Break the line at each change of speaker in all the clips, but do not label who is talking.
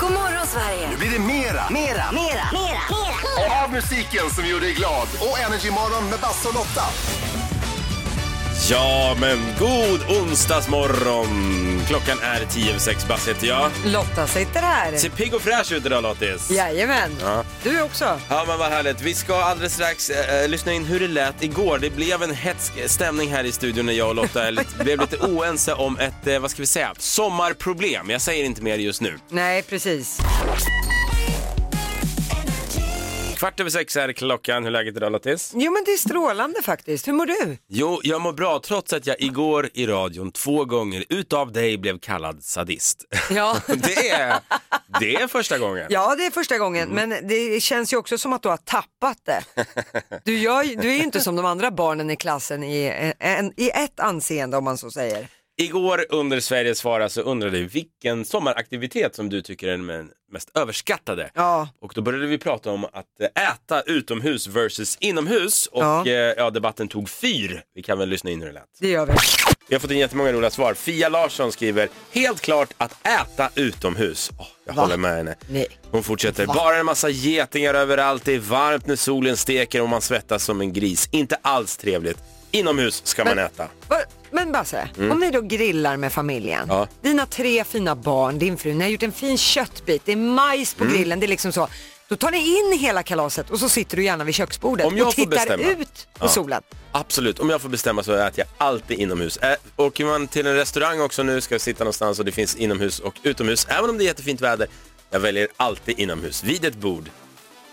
God morgon, Sverige!
Nu blir det mera, mera, mera, mera, mera. av musiken som gjorde dig glad och Energymorgon med Basse och Lotta.
Ja, men god onsdagsmorgon! Klockan är tio över sex. Basse heter jag.
Lotta sitter här.
Ser pigg och fräsch ut idag, Lottis.
Jajamän. Du också.
Ja men vad härligt. Vi ska alldeles strax eh, lyssna in hur det lät igår. Det blev en hetsk stämning här i studion när jag och Lotta är lite, blev lite oense om ett, eh, vad ska vi säga, sommarproblem. Jag säger inte mer just nu.
Nej, precis.
Kvart över sex är klockan. Hur är läget idag Lottis?
Jo, men det är strålande faktiskt. Hur mår du?
Jo, jag mår bra trots att jag igår i radion två gånger utav dig blev kallad sadist.
Ja.
det, är, det är första gången.
Ja, det är första gången,
Mm.
men det känns ju också som att du har tappat det. Du, gör, ju- du är ju inte som de andra barnen i klassen i, eh, en, i ett anseende om man så säger.
Igår under Sveriges svara så undrade vi vilken sommaraktivitet som du tycker är den mest överskattade.
Ja,
Och då började vi prata om att eh, äta utomhus versus inomhus och
Ja.
ja. Eh, ja, debatten tog fyr. Vi kan väl lyssna in hur det lät.
det gör vi.
Vi har fått in jättemånga roliga svar. Fia Larsson skriver helt klart att äta utomhus. Åh, jag håller med henne.
Nej.
Hon fortsätter. Bara en massa getingar överallt. Det är varmt när solen steker och man svettas som en gris. Inte alls trevligt. Inomhus ska man äta.
Va- Men Basse, om ni då grillar med familjen,
Mm. Ja.
dina tre fina barn, din fru, ni har gjort en fin köttbit, det är majs på
Mm.
grillen, det är liksom så. Då tar ni in hela kalaset och så sitter du gärna vid köksbordet
Om jag
och
får
tittar
bestämma.
ut på
Ja.
solen.
Absolut, om jag får bestämma så äter jag alltid inomhus. Ä- Åker man till en restaurang också nu, ska sitta någonstans och det finns inomhus och utomhus, även om det är jättefint väder, jag väljer alltid inomhus, vid ett bord,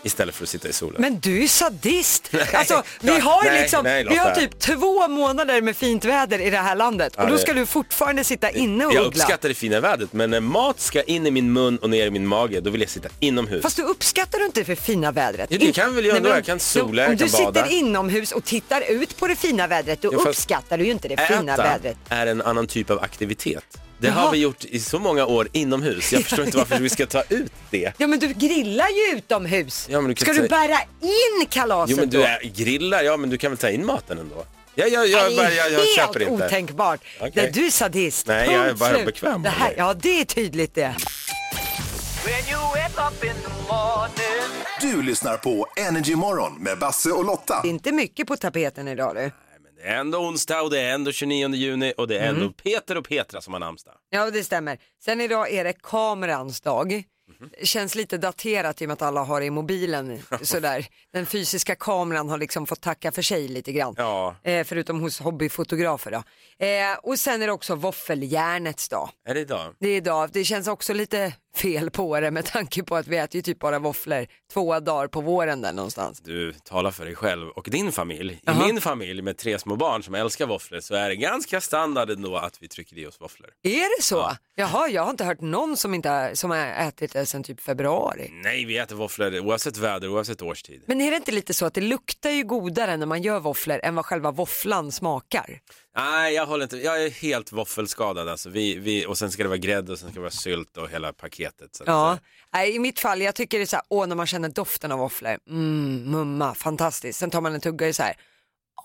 istället för att sitta i solen.
Men du är sadist!
Nej,
alltså, vi har
nej,
liksom,
nej,
vi har
Lotta.
typ två månader med fint väder i det här landet och
Ja,
då
det-
ska du fortfarande sitta inne och
jag
uggla.
uppskattar det fina vädret, men när mat ska in i min mun och ner i min mage, då vill jag sitta inomhus.
Fast du uppskattar du inte det för fina vädret?
Jo, det
In-
kan väl jag
Nej,
ändå.
men-
Jag kan sola, jag
Om du
kan bada.
sitter inomhus och tittar ut på det fina vädret, då
Ja, fast-
uppskattar du ju inte det fina
Äta
vädret.
är en annan typ av aktivitet. Det
Jaha.
har vi gjort i så många år inomhus, jag förstår inte varför vi ska ta ut det.
Ja men du grillar ju utomhus.
Ja, men du kan
Ska du
säga-
bära in kalaset
Jo men du
Alltså då?
är, grillar, ja men du kan väl ta in maten ändå? Ja, ja, ja,
Nej,
jag, jag, jag,
helt
köper inte.
otänkbart.
Okej.
Nej, du är sadist.
Nej, jag är
Punkt
bara
slut.
bekväm
Det
med
här,
det.
ja, det är tydligt det.
Du lyssnar på Energymorgon med Basse och Lotta.
Det är inte mycket på tapeten idag du.
Men det är ändå onsdag och det är ändå 29 juni och det är
Mm.
ändå Peter och Petra som har namnsdag.
Ja, det stämmer. Sen idag är det kamerans dag. Känns lite daterat i och med att alla har det i mobilen sådär. Den fysiska kameran har liksom fått tacka för sig lite grann.
Ja.
Eh, förutom hos hobbyfotografer då. Eh, och sen är det också våffeljärnets dag.
Är det idag?
Det är idag, det känns också lite fel på det med tanke på att vi äter ju typ bara våfflor två dagar på våren där någonstans.
Du talar för dig själv och din familj.
Jaha.
I min familj med tre små barn som älskar våfflor så är det ganska standard ändå att vi trycker i oss våfflor.
Är det så? Jaha, jag har inte hört någon som, inte, har- som har ätit det sedan typ februari.
Nej, vi äter våfflor oavsett väder, oavsett årstid.
Men är det inte lite så att det luktar ju godare när man gör våfflor än vad själva våfflan smakar?
Nej, jag håller inte. Jag är helt våffelskadad alltså. Vi, vi, och sen ska det vara grädde och sen ska det vara sylt och hela paketet. Så att,
Ja,
eh,
Alltså, Nej, i mitt fall jag tycker det är så här, åh när man känner doften av våfflor, mm, mumma, fantastiskt. Sen tar man en tugga och är så här,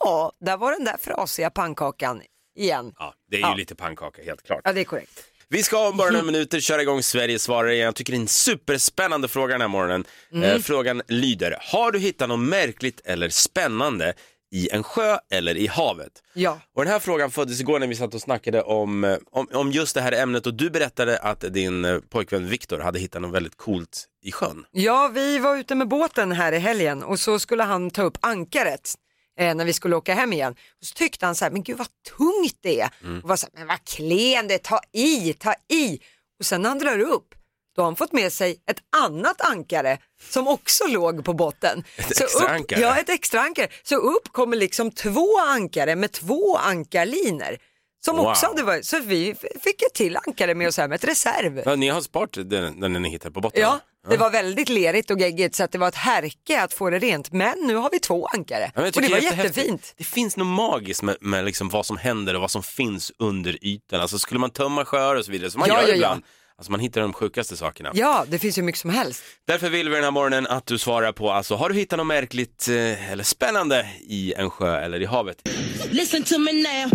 ja, där var den där frasiga pannkakan igen.
Ja, det är ju
Ja.
lite pannkaka helt klart.
Ja, det är korrekt.
Vi ska om bara några minuter köra igång Sverige svarar igen. Jag tycker det är en superspännande fråga den här morgonen.
Mm.
Eh, frågan lyder, har du hittat något märkligt eller spännande i en sjö eller i havet?
Ja.
Och den här frågan föddes igår när vi satt och snackade om, eh, om, om just det här ämnet och du berättade att din eh, pojkvän Viktor hade hittat något väldigt coolt i sjön.
Ja, vi var ute med båten här i helgen och så skulle han ta upp ankaret eh, när vi skulle åka hem igen. Och så tyckte han så här, men gud vad tungt det är.
Mm.
Och var så här, men vad klen det är, ta i, ta i. Och sen när han drar upp, då har han fått med sig ett annat ankare som också låg på botten. Ett
extra
upp,
ankare?
Ja, ett extra ankare. Så upp kommer liksom två ankare med två ankarliner. Som
Wow.
också hade varit, så vi fick ett till ankare med oss hem, ett reserv.
Ja, ni har sparat den, den ni hittade på botten?
Ja, det var väldigt lerigt och geggigt så att det var ett härke att få det rent. Men nu har vi två ankare
Ja, men jag
och det
tycker
var
är jättehäftigt.
jättefint.
Det finns något magiskt med, med liksom vad som händer och vad som finns under ytan. Alltså skulle man tömma sjöar och så vidare, som man
Ja,
gör
ja, ja.
ibland. Alltså man hittar de sjukaste sakerna.
Ja, det finns ju mycket som helst.
Därför vill vi den här morgonen att du svarar på, alltså har du hittat något märkligt eh, eller spännande i en sjö eller i havet?
Listen to me now.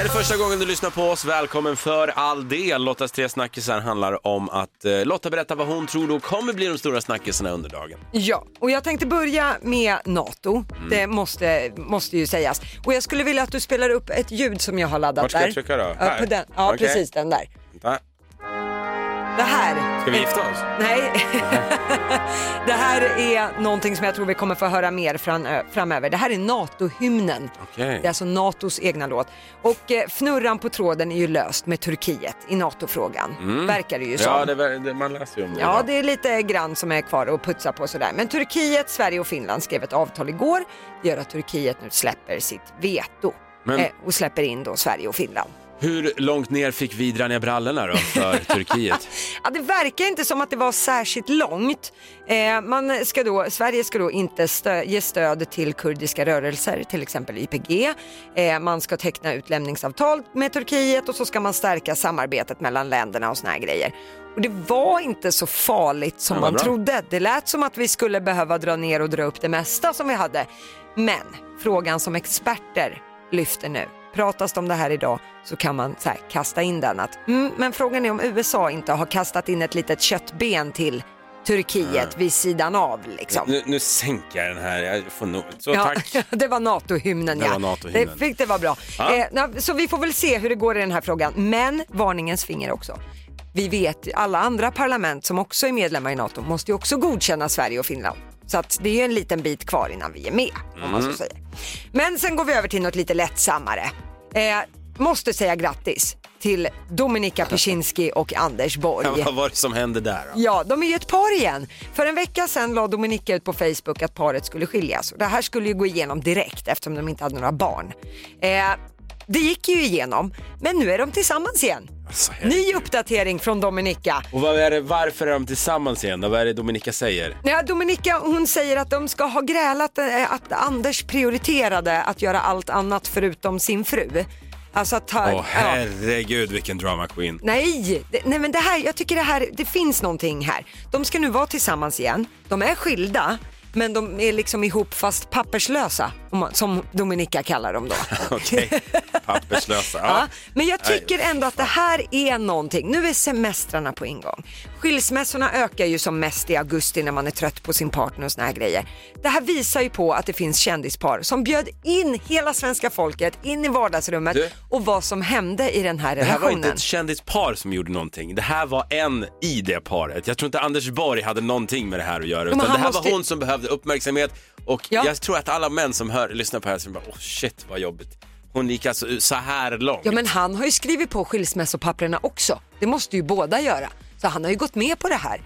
Är det första gången du lyssnar på oss, välkommen för all del. Lottas tre snackisar handlar om att eh, Lotta berättar vad hon tror då kommer bli de stora snackisarna under dagen.
Ja, och jag tänkte börja med NATO.
Mm.
Det måste, måste ju sägas. Och jag skulle vilja att du spelar upp ett ljud som jag har laddat
Vart ska
där.
jag trycka då?
Ja,
Här?
på den. ja
Okej.
precis den där.
Vänta.
Det här.
Ska vi gifta oss?
Nej. det här är någonting som jag tror vi kommer få höra mer fram- framöver. Det här är NATO-hymnen.
Okej.
Det är alltså NATOs egna låt. Och eh, fnurran på tråden är ju löst med Turkiet i NATO-frågan. Verkar det ju som.
Mm. Ja, det, var- det, man läser ju om det.
Ja,
idag.
det är lite grann som är kvar att putsa på sådär. Men Turkiet, Sverige och Finland skrev ett avtal igår. Det gör att Turkiet nu släpper sitt veto
Men-
eh, och släpper in då Sverige och Finland.
Hur långt ner fick vi dra ner brallorna då för Turkiet?
Ja, det verkar inte som att det var särskilt långt. Eh, man ska då, Sverige ska då inte stö- ge stöd till kurdiska rörelser, till exempel YPG. Eh, man ska teckna utlämningsavtal med Turkiet och så ska man stärka samarbetet mellan länderna och såna här grejer. Och det var inte så farligt som
Ja, vad
man
bra.
trodde. Det lät som att vi skulle behöva dra ner och dra upp det mesta som vi hade. Men frågan som experter lyfter nu, pratas det om det här idag så kan man så här, kasta in den att mm, men frågan är om USA inte har kastat in ett litet köttben till Turkiet vid sidan av liksom.
Nu, nu sänker jag den här, jag får nog... Så
Ja,
tack.
det var NATO-hymnen
Det
ja.
var NATO-hymnen.
Det fick det vara bra.
Ja.
Eh, na- så vi får väl se hur det går i den här frågan. Men varningens finger också. Vi vet ju, alla andra parlament som också är medlemmar i NATO måste ju också godkänna Sverige och Finland. Så att det är ju en liten bit kvar innan vi är med om man
Mm.
så säger. Men sen går vi över till något lite lättsammare. Eh, måste säga grattis till Dominika Peczynski och Anders Borg.
Vad var det som hände där då?
Ja, de är ju ett par igen. För en vecka sedan la Dominika ut på Facebook att paret skulle skiljas. Och det här skulle ju gå igenom direkt eftersom de inte hade några barn. Eh, det gick ju igenom, men nu är de tillsammans igen.
Alltså, herregud.
Ny uppdatering från Dominika.
Och vad är det, varför är de tillsammans igen då? Vad är det Dominika säger?
Ja, Dominika hon säger att de ska ha grälat eh, att Anders prioriterade att göra allt annat förutom sin fru. Alltså att ta...
Åh
ja.
herregud vilken drama queen.
Nej, det, nej men det här, jag tycker det här, det finns någonting här. De ska nu vara tillsammans igen, de är skilda, men de är liksom ihop fast papperslösa, om man, som Dominika kallar dem då.
Okej, papperslösa.
Ja,
Ja.
men jag
Nej,
tycker ändå att det här är någonting. Nu är semestrarna på ingång. Skilsmässorna ökar ju som mest i augusti när man är trött på sin partner och såna här grejer. Det här visar ju på att det finns kändispar som bjöd in hela svenska folket in i vardagsrummet
Du-
och vad som hände i den här
Det här var
relationen.
inte ett kändispar som gjorde någonting. Det här var en i det paret. Jag tror inte Anders Borg hade någonting med det här att göra.
men
Utan det
han
här
måste-
var hon som behövde uppmärksamhet. Och
Ja.
jag tror att alla män som hör, lyssnar på det här så bara, åh shit vad jobbigt. Hon gick alltså ut så här långt.
Ja men han har ju skrivit på skilsmässopapperna också. Det måste ju båda göra. Så han har ju gått med på det här.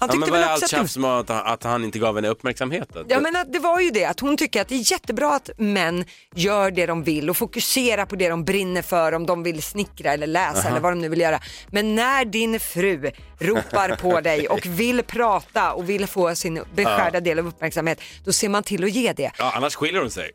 Han
Ja,
tyckte
men vad är
väl också
allt
att det,
tjafs om att, att han inte gav henne uppmärksamhet? då?
ja, men att det var ju det att hon tycker att det är jättebra att män gör det de vill och fokuserar på det de brinner för om de vill snickra eller läsa eller vad de nu vill göra. Men när din fru ropar på dig och vill prata och vill få sin beskärda del av uppmärksamhet då ser man till att ge det.
ja, annars skiljer hon sig.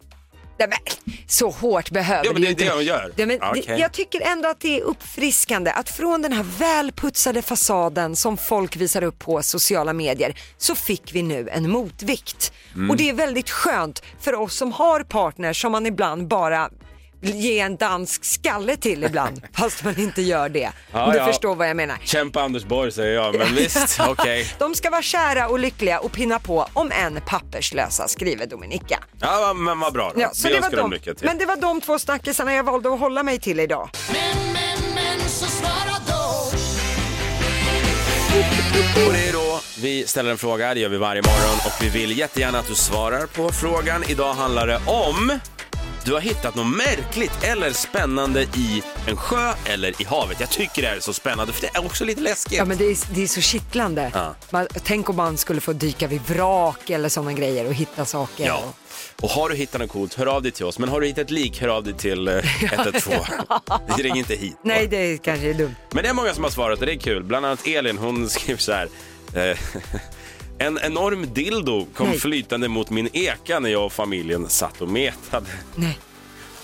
Nej, men, så hårt behöver
Ja, men
ju
det är
inte-
det hon gör.
Ja, men,
Ja,
det-
okej.
Jag tycker ändå att det är uppfriskande att från den här välputsade fasaden som folk visar upp på sociala medier så fick vi nu en motvikt.
Mm.
Och det är väldigt skönt för oss som har partners som man ibland bara vill ge en dansk skalle till ibland fast man inte gör det.
Ja,
Om du
ja.
förstår vad jag menar.
Kämpa Anders Borg säger jag, men visst, okej.
De ska vara kära och lyckliga och pinna på om en papperslösa skriver Dominika.
Ja, men vad bra då.
Ja, så
Vi
det var
önskar dem
de,
lycka till.
men det var de två snackisarna jag valde att hålla mig till idag.
Men, men, men så svara då
Och det är då vi ställer en fråga, det gör vi varje morgon och vi vill jättegärna att du svarar på frågan. Idag handlar det om du har hittat något märkligt eller spännande i en sjö eller i havet. Jag tycker det här är så spännande för det är också lite läskigt.
Ja men det är, det är så kittlande.
Ja.
Man, tänk om man skulle få dyka vid vrak eller sådana grejer och hitta saker.
Ja.
Och-
Och har du hittat något coolt, hör av dig till oss. Men har du hittat ett lik, hör av dig till eh, 112. Ring inte hit.
Nej det kanske är dumt.
Men det är många som har svarat och det är kul. Bland annat Elin, hon skriver så här. Eh, en enorm dildo kom
Nej.
flytande mot min eka när jag och familjen satt och metade.
Nej.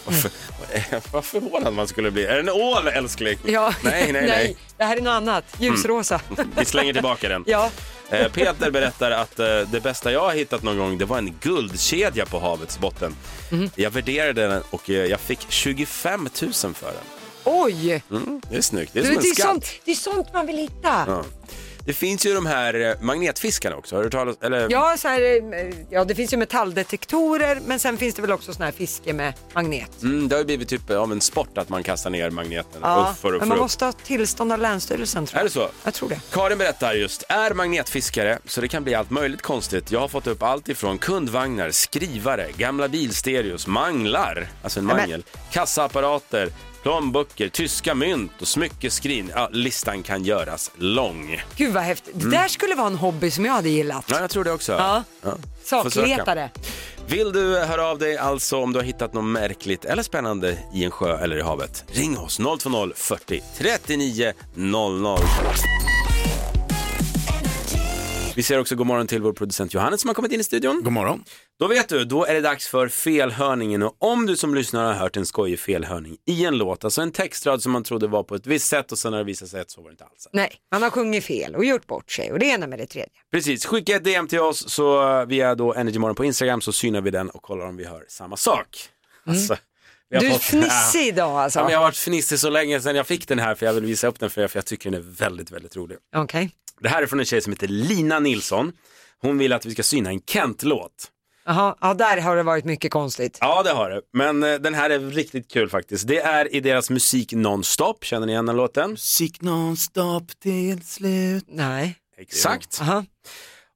Varför, vad förvånad man skulle bli. Är det en ål älskling?
Ja.
Nej, Mm. nej, nej.
Det här är något annat. Ljusrosa.
Vi slänger tillbaka den.
Ja.
Eh, Peter berättar att eh, det bästa jag har hittat någon gång det var en guldkedja på havets botten.
Mhm.
Jag värderade den och eh, jag fick 25 000 för den.
Oj!
Mm, det är snyggt, det är
Du,
som en
det, är
skatt.
sånt, det är sånt man vill hitta. Ja,
Ja. Det finns ju de här eh, magnetfiskarna också, har du talat eller?
så här, eh, ja det finns ju metalldetektorer men sen finns det väl också sån här fiske med magnet.
Mm, det har ju blivit typ av en sport att man kastar ner magneten
Ja,
och för och
men
för
man
upp.
måste ha tillstånd av Länsstyrelsen tror jag.
Är det så?
Jag tror det.
Karin berättar just, är magnetfiskare så det kan bli allt möjligt konstigt. Jag har fått upp allt ifrån kundvagnar, skrivare, gamla bilstereos, manglar, alltså en
Nämen.
mangel, kassaapparater, plånböcker, tyska mynt och smyckeskrin. Ja, listan kan göras lång.
Gud vad häftigt. Det där skulle vara en hobby som jag hade gillat.
Mm. Ja, jag tror det också.
Ja.
Försöka.
Sakletare.
Vill du höra av dig alltså om du har hittat något märkligt eller spännande i en sjö eller i havet? Ring oss 020 40 39 00. Vi säger också god morgon till vår producent Johannes som har kommit in i studion.
God morgon.
Då vet du, då är det dags för felhörningen och om du som lyssnare har hört en skojig felhörning i en låt, alltså en textrad som man trodde var på ett visst sätt och sen har det visat sig att så var det inte alls.
Nej, man har sjungit fel och gjort bort sig och det ena med det tredje.
Precis, skicka ett DM till oss så eh, via då Energymorgon på Instagram så synar vi den och kollar om vi hör samma sak. Alltså, vi har
Mm. Du är
fått-
fnissig idag alltså.
Ja, men jag har varit fnissig så länge sedan jag fick den här för jag vill visa upp den för er för jag tycker den är väldigt, väldigt rolig.
Okej.
Det här är från en tjej som heter Lina Nilsson. Hon vill att vi ska syna en Kent-låt.
Jaha, ja, där har det varit mycket konstigt.
Ja, det har det. Men eh, den här är riktigt kul faktiskt. Det är i deras musik Nonstop. Känner ni igen den låten?
Musik nonstop till slut.
Nej.
Exakt.
Aha.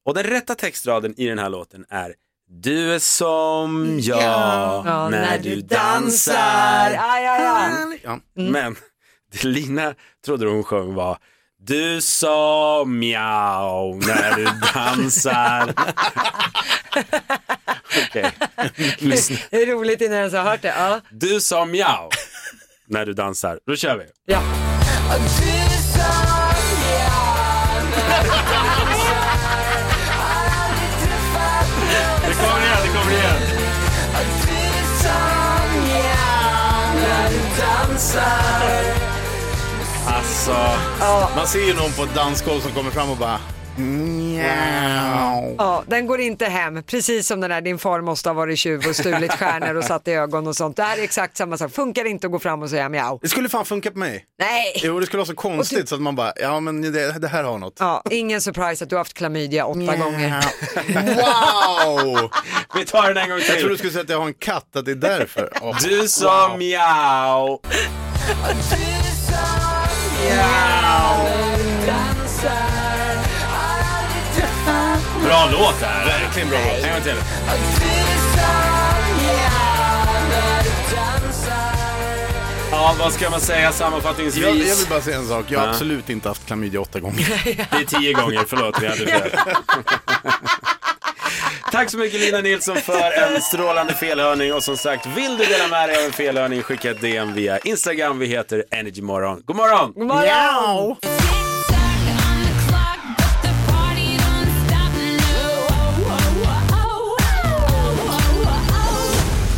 Och den rätta textraden i den här låten är Du är som jag
Ja,
när, du dansar. Mm.
Aj, aj, aj.
Ja.
Men det Lina trodde hon sjöng var Du sa miau när du dansar. Okej, lyssna.
Det är roligt innan jag ens har hört det. Ja.
Du sa miau när du dansar. Då kör vi.
Ja.
Det kommer igen, det kommer igen. Alltså,
Man ser ju någon på ett dansgolv som kommer fram och bara Mjau.
ja, den går inte hem. Precis som den där, din far måste ha varit tjuv och stulit stjärnor och satt i ögon och sånt. Det här är exakt samma sak. Funkar inte att gå fram och säga miau.
Det skulle fan funka på mig. typ-
Nej.
Jo, det skulle vara så konstigt så att man bara, ja men det, det här har något.
Ja, ingen surprise att du har haft klamydia åtta gånger.
Wow!
vi tar den en gång
Jag trodde du
till.
skulle säga att jag har en katt, att det är därför. Åh,
Du sa miau. Bra låt det här. Verkligen bra låt. En gång till. Ja, vad ska man säga sammanfattningsvis?
Jag, jag vill bara säga en sak, jag har
Ja.
absolut inte haft klamydia åtta gånger.
Det är tio gånger, förlåt vi hade fel. Tack så mycket Lina Nilsson för en strålande felhörning och som sagt, vill du dela med dig av en felhörning skicka ett DM via Instagram. Vi heter Energymorgon. God morgon!
God morgon!
Miau.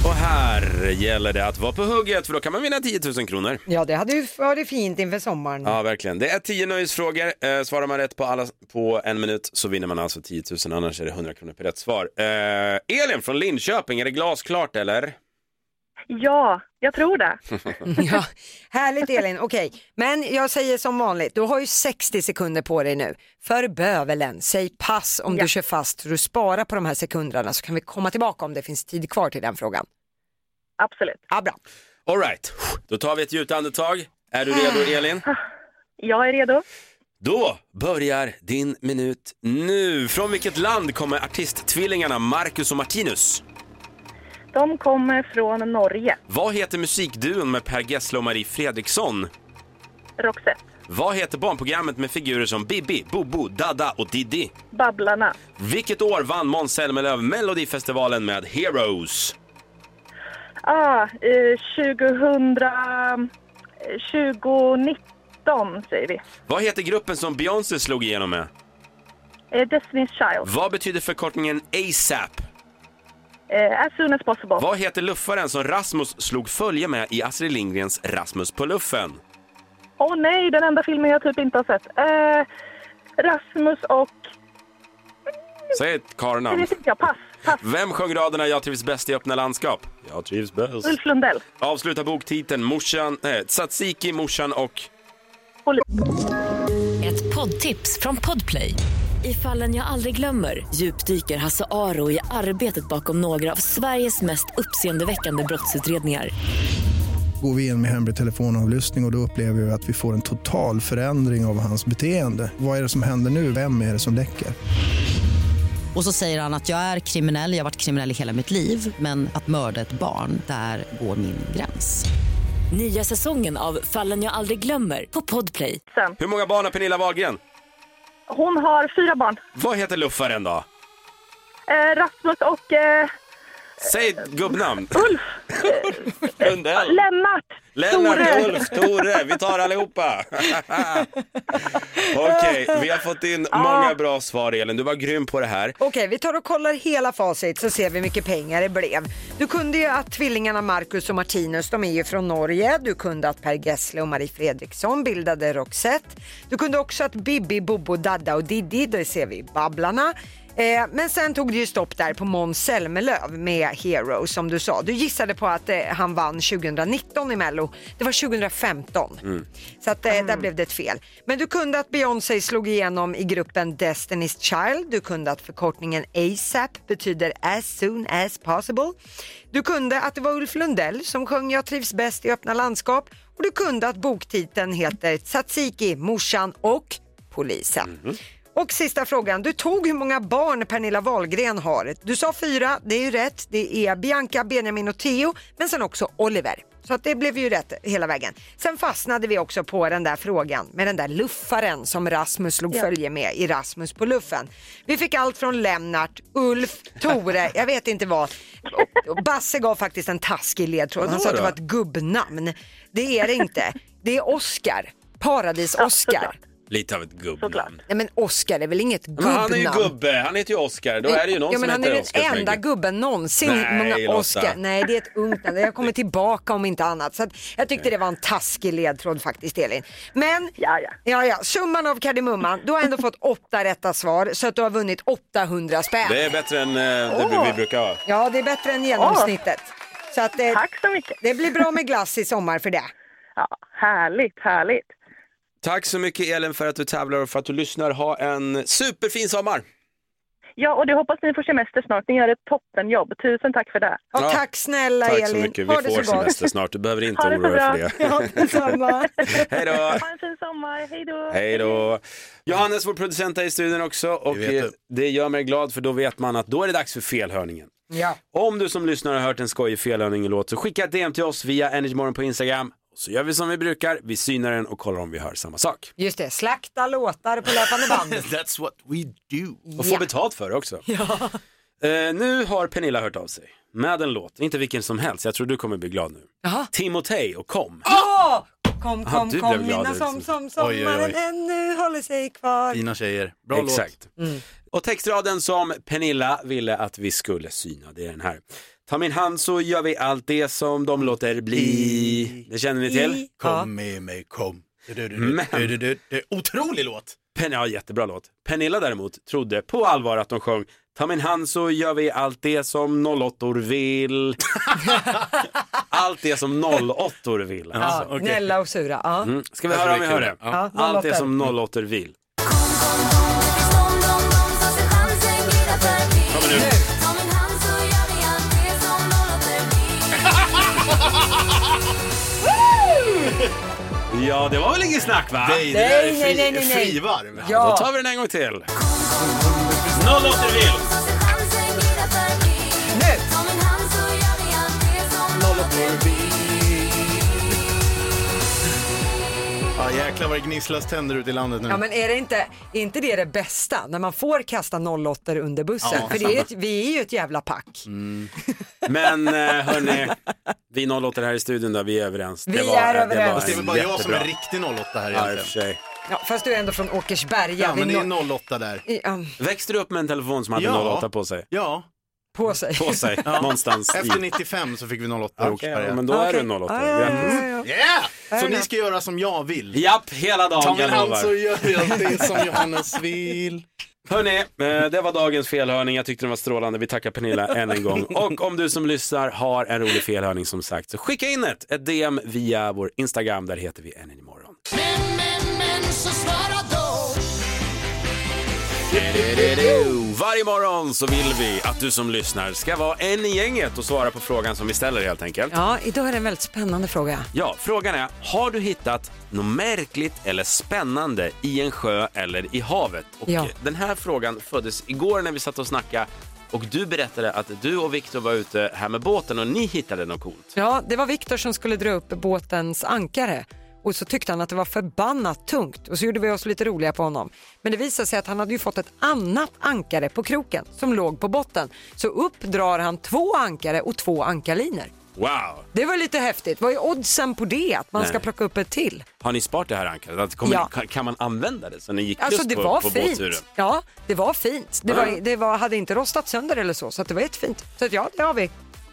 Och här gäller det att vara på hugget för då kan man vinna 10 000 kronor.
Ja, det hade ju varit fint inför sommaren.
Ja, verkligen. Det är 10 nöjesfrågor. Eh, svarar man rätt på alla på en minut så vinner man alltså 10 000, annars är det 100 kronor per rätt svar. Eh, Elin från Linköping, är det glasklart eller?
Ja, jag tror det.
Hm.
Ja, härligt Elin, okej. Men jag säger som vanligt, du har ju 60 sekunder på dig nu. För bövelen, säg pass om du kör fast så du sparar på de här sekunderna så kan vi komma tillbaka om det finns tid kvar till den frågan.
Absolut.
Ja, bra.
All right. då tar vi ett djupt andetag. Är du redo Elin?
Jag är redo.
Då börjar din minut nu. Från vilket land kommer artisttvillingarna Marcus och Martinus?
De kommer från Norge.
Vad heter musikduon med Per Gessle och Marie Fredriksson?
Roxette.
Vad heter barnprogrammet med figurer som Bibi, Bobo, Dada och Diddy?
Babblarna.
Vilket år vann Måns Zelmerlöw Melodifestivalen med Heroes?
Ah, eh, 2000... eh, 2019 säger vi.
Vad heter gruppen som Beyoncé slog igenom med?
Eh, Destiny's Child.
Vad betyder förkortningen ASAP?
Eh, as soon as possible.
Vad heter luffaren som Rasmus slog följe med i Astrid Lindgrens Rasmus på luffen?
Åh nej, den enda filmen jag typ inte har sett. Eh, Rasmus och
Säg ett
Det
karlnamn.
vet inte jag. Pass. Pass.
Vem sjöng raderna Jag trivs bäst i öppna landskap? Jag trivs bäst.
Ulf Lundell.
Avsluta boktiteln Morsan, nej, Tsatsiki, morsan och...
Ett poddtips från Podplay. I fallen jag aldrig glömmer djupdyker Hasse Aro i arbetet bakom några av Sveriges mest uppseendeväckande brottsutredningar.
Går vi in med hemlig telefonavlyssning och, och då upplever vi att vi får en total förändring av hans beteende. Vad är det som händer nu? Vem är det som läcker?
Och så säger han att jag är kriminell, jag har varit kriminell i hela mitt liv men att mörda ett barn, där går min gräns.
Nya säsongen av Fallen jag aldrig glömmer på Podplay.
Sen.
Hur många barn har Pernilla Wahlgren?
Hon har fyra barn.
Vad heter luffaren då?
Eh, Rasmus och eh,
Säg ett gubbnamn.
Ulf.
Lundell.
Lennart.
Lennart,
Tore.
Ulf, Tore. Vi tar allihopa. Okej, vi har fått in många bra svar Elin. Du var grym på det här.
Okej, vi tar och kollar hela facit så ser vi hur mycket pengar det blev. Du kunde ju att tvillingarna Marcus och Martinus, de är ju från Norge. Du kunde att Per Gessle och Marie Fredriksson bildade Roxette. Du kunde också att Bibi, Bobo, Dadda och Diddi, det ser vi i Babblarna. Eh, men sen tog det ju stopp där på Måns Zelmerlöw med Hero som du sa. Du gissade på att eh, han vann 2019 i Mello. Det var 2015. Så att, eh, där blev det ett fel. Men du kunde att Beyoncé slog igenom i gruppen Destiny's Child. Du kunde att förkortningen ASAP betyder as soon as possible. Du kunde att det var Ulf Lundell som sjöng Jag trivs bäst i öppna landskap. Och du kunde att boktiteln heter Tsatsiki, morsan och polisen. Och sista frågan, du tog hur många barn Pernilla Wahlgren har. Du sa fyra, det är ju rätt. Det är Bianca, Benjamin och Theo, men sen också Oliver. Så att det blev ju rätt hela vägen. Sen fastnade vi också på den där frågan med den där luffaren som Rasmus slog följe med i Rasmus på luffen. Vi fick allt från Lennart, Ulf, Tore, jag vet inte vad. Och- och Basse gav faktiskt en taskig ledtråd. Han sa att det var ett gubbnamn. Det är det inte. Det är Oscar. Paradis-Oskar.
Lite av ett gubbnamn.
Nej men Oscar är väl inget
Men
gubbnamn?
han är ju gubbe, han heter ju Oscar. Då är det ju någon
ja,
som
men han är
heter
ju
Oscar.
den enda gubben någonsin.
Nej,
många
Lotta.
Oscar. Nej, det är ett ungt namn. Jag kommer tillbaka om inte annat. Så att jag tyckte det var en taskig ledtråd faktiskt, Elin. Men,
Ja, ja.
ja, ja. summan av kardemumman. Du har ändå fått åtta rätta svar så att du har vunnit 800 spänn.
Det är bättre än eh, det vi brukar ha.
Ja, det är bättre än genomsnittet. Så att det,
Tack så mycket.
det blir bra med glass i sommar för det.
Ja, härligt, härligt.
Tack så mycket Elin för att du tävlar och för att du lyssnar. Ha en superfin sommar.
Ja, och det hoppas ni får semester snart. Ni gör ett toppenjobb. Tusen tack för det.
Och
Ja.
tack snälla
Tack så
Elin.
mycket.
Ha
Vi
det
får
så gott.
semester snart. Du behöver inte
Ha det så
oroa dig för
bra.
det.
Ja, detsamma.
Hej då!
Ha en fin sommar. Hej då.
Hej då! Johannes, vår producent, är i studion också och
vet
eh,
du.
det gör mig glad för då vet man att då är det dags för felhörningen.
ja.
Om du som lyssnar har hört en skojig felhörning-låt så skicka ett DM till oss via Energymorgon på Instagram. Så gör vi som vi brukar, vi synar den och kollar om vi hör samma sak.
Just det, slakta låtar på löpande band.
That's what we do.
Och få betalt för det också. Eh, nu har Pernilla hört av sig med en låt, inte vilken som helst, jag tror du kommer bli glad nu.
Jaha.
Timotej och Kom.
Ja! Kom,
Aha,
kom,
du
kom,
blev glad
mina som,
liksom.
som sommaren
Oj, oj, oj.
ännu håller sig kvar.
Fina tjejer. Bra låt.
Exakt.
Mm.
Och textraden som Pernilla ville att vi skulle syna, det är den här. Ta min hand så gör vi allt det som de låter bli. Det känner ni till?
I- Ja.
Kom med mig, kom. Du, du, du, du,
Men-
du, du, du. Otrolig låt.
Pen ja, jättebra låt. Pernilla däremot trodde på allvar att de sjöng Ta min hand så gör vi allt det som nollåttor vill. allt det som nollåttor vill.
Ja,
Alltså.
Gnälla och sura. Ja.
Mm. Ska vi höra om vi hör det?
Ja,
Allt det
nollåttor.
som nollåttor vill. Ja, det var väl inget snack va?
Nej, det där är
Nej, nej, nej, nej, nej.
fri- frivarv.
Då
Ja,
tar vi den en gång till. Nollåttor vill.
Ja, jäklar vad det gnisslas tänder ute i landet nu.
ja men är det inte, är inte det det bästa? När man får kasta 08 under bussen.
Ja, Mm.
För det är ju ett, vi är ju ett jävla pack.
Men eh, hörni, vi nollåttor här i studion där, vi är överens.
Vi är överens.
Fast det är väl bara jag som är riktig 08
Ja,
här
i och
egentligen.
för sig.
Ja, fast du är ändå från Åkersberga.
Ja, men
vid
det
no-
är 08 där.
i- ja,
Växte du upp med en telefon som hade
Ja.
08 på sig?
Ja,
på sig.
På sig, någonstans
efter
i.
95 så fick vi 08 i
Okej,
Åkersberga.
ja, men då är
Okej. Ah,
du 08.
Ja, ja, ja, ja, ja.
Yeah! Så ni ska göra som jag vill.
Japp, hela
Ta
dagen
min hand så
lovar.
gör jag det som Johannes vill.
Hörni, eh, det var dagens felhörning. Jag tyckte den var strålande. Vi tackar Pernilla än en gång. Och om du som lyssnar har en rolig felhörning som sagt, så skicka in ett, ett DM via vår Instagram. Där heter vi än en imorgon.
Men, men, men så svara då.
Varje morgon så vill vi att du som lyssnar ska vara en i gänget och svara på frågan som vi ställer helt enkelt.
Ja, idag är det en väldigt spännande fråga.
Ja, frågan är, har du hittat något märkligt eller spännande i en sjö eller i havet? Och
Ja.
Den här frågan föddes igår när vi satt och snackade och du berättade att du och Viktor var ute här med båten och ni hittade något coolt.
Ja, det var Viktor som skulle dra upp båtens ankare och så tyckte han att det var förbannat tungt och så gjorde vi oss lite roliga på honom. Men det visade sig att han hade ju fått ett annat ankare på kroken som låg på botten. Så upp drar han två ankare och två ankarlinor.
Wow!
Det var lite häftigt. Vad är oddsen på det? Att man
Nej.
ska plocka upp ett till?
Har ni sparat det här ankaret? Att Kommer,
Ja.
kan, kan man använda det sen ni gick
Alltså
just
det
på,
var
på
fint.
båtturen?
Ja, det var fint. Det,
Ja.
var, det var, hade inte rostat sönder eller så, så att det var jättefint. Så att ja, det har vi.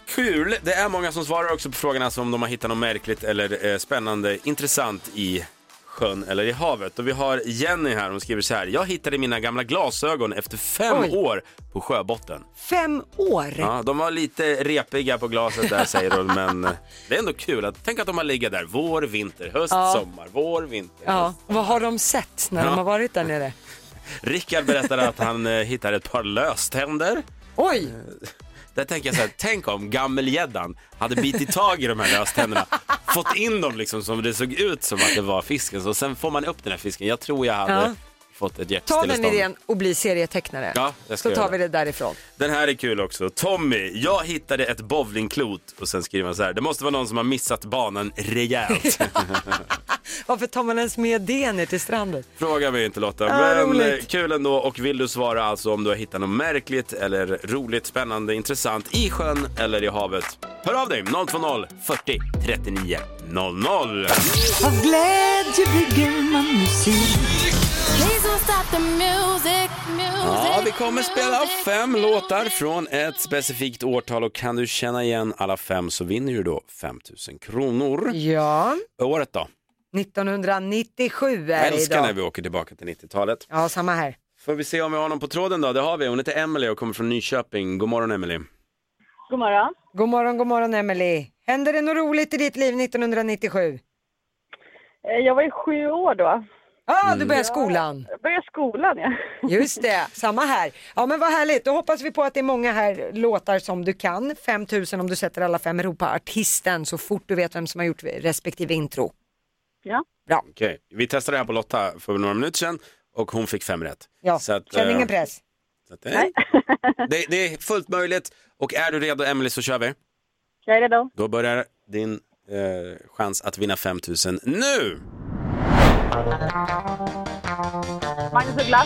Kul! Det är många som svarar också på frågan alltså om de har hittat något märkligt eller eh, spännande, intressant i sjön eller i havet. Och vi har Jenny här, hon skriver så här. Jag hittade mina gamla glasögon efter fem
Oj.
år på sjöbotten.
Fem år!
Ja, de var lite repiga på glaset där säger hon, men eh, det är ändå kul. Att, tänk att de har legat där vår, vinter, höst,
Ja.
sommar, vår, vinter.
Ja, vad har de sett när
Ja.
de har varit där nere?
Rickard berättade att han eh, hittade ett par löständer.
Oj!
Där tänker jag så här, tänk om gammelgäddan hade bitit tag i de här löständerna, fått in dem liksom som det såg ut som att det var fisken, så sen får man upp den här fisken. Jag tror jag hade
Ja.
fått ett
Ta den
hjärtstillestånd.
idén och bli serietecknare.
Ja, jag ska
så
göra
tar vi det därifrån.
Den här är kul också. Tommy, jag hittade ett bowlingklot och sen skriver han så här, det måste vara någon som har missat banan rejält.
Varför tar man ens med det ner till stranden?
Fråga mig inte Lotta,
Ja,
men
roligt.
eh, kul ändå. Och vill du svara alltså om du har hittat något märkligt eller roligt, spännande, intressant i sjön eller i havet? Hör av dig 020 40 39 00.
Av glädje bygger man musik.
Ja, vi kommer spela fem låtar från ett specifikt årtal och kan du känna igen alla fem så vinner du då 5000 kronor.
Ja.
Året då?
1997 är
Jag
det
älskar när
idag.
vi åker tillbaka till 90-talet.
Ja, samma här.
Får vi se om vi har någon på tråden då? Det har vi. Hon heter Emily och kommer från Nyköping. God morgon Emily.
God morgon. God morgon, god morgon Emily. Hände det något roligt i ditt liv 1997?
Eh, Jag var ju sju år då.
Ja, ah,
Mm.
du började skolan.
Jag började skolan, ja.
Just det, samma här. Ja men vad härligt, då hoppas vi på att det är många här låtar som du kan. 5000 om du sätter alla fem Europa artisten så fort du vet vem som har gjort respektive intro.
Ja.
Bra.
Okej, vi testade det här på Lotta för några minuter sedan och hon fick fem rätt.
Ja,
Så att,
känn
eh,
ingen press.
så att, eh, det, det är fullt möjligt och är du redo Emily så kör vi.
Jag är redo.
Då börjar din eh, chans att vinna 5000 nu!
Magnus Uggla.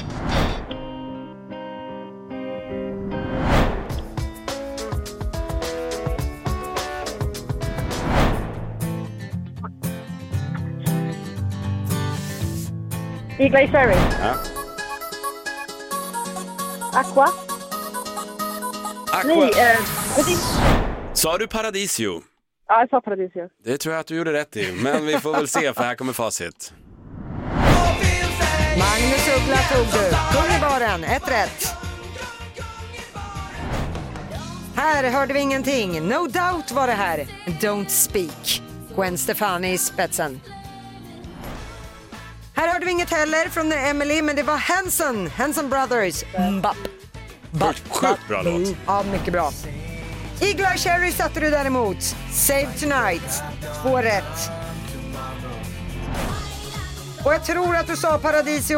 Eagle Cherry.
Ja.
Aqua.
Aqua.
Nej, eh, Paradis.
Sa du Paradisio?
Ja, jag sa Paradisio.
Det tror jag att du gjorde rätt i, men vi får väl se för här kommer facit.
Magnus Uggla tog du. Kung i baren, ett rätt. Här hörde vi ingenting. No doubt var det här. Don't speak. Gwen Stefani i spetsen. Här hörde vi inget heller från Emily, men det var Hanson, Hanson Brothers. Mbapp.
Sjukt bra låt.
Ja, mycket bra. Eagle Eye Cherry satte du däremot. Save Tonight. Två rätt. Och jag tror att du sa Paradisio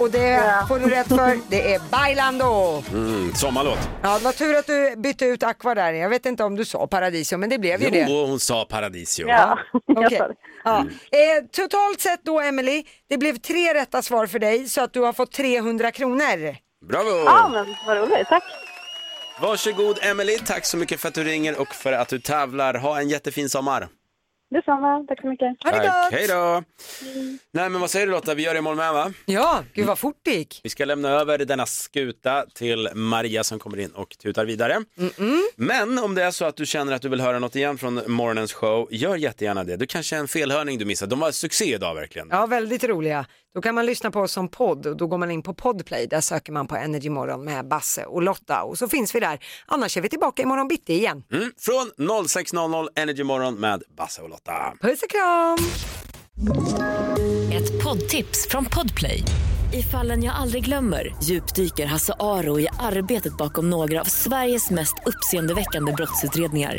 och det får du rätt för. Det är Bailando.
Mm, sommarlåt.
Ja, det var tur att du bytte ut Aqua där. Jag vet inte om du sa Paradisio, men det blev ju det.
Jo, hon sa Paradisio.
Okej. Ja. Eh, totalt sett då, Emily, det blev tre rätta svar för dig så att du har fått 300 kronor.
Bravo!
men vad roligt. Tack.
Varsågod Emily, tack så mycket för att du ringer och för att du tävlar. Ha en jättefin sommar.
Detsamma. Tack så mycket.
Tack, hej då! Nej men vad säger du Lotta, vi gör det imorgon med va?
Ja, gud vad fort det gick.
Vi ska lämna över denna skuta till Maria som kommer in och tutar vidare. Men om det är så att du känner att du vill höra något igen från morgonens show, gör jättegärna det. Du kanske är en felhörning du missade. De var succé idag verkligen.
Ja, väldigt roliga. Då kan man lyssna på oss som podd och då går man in på Podplay. Där söker man på Energy Morgon med Basse och Lotta och så finns vi där. Annars är vi tillbaka imorgon bitti igen.
Mm. Från 06.00 Energy Morgon med Basse och Lotta.
Puss och kram!
Ett poddtips från Podplay. I fallen jag aldrig glömmer djupdyker Hasse Aro i arbetet bakom några av Sveriges mest uppseendeväckande brottsutredningar.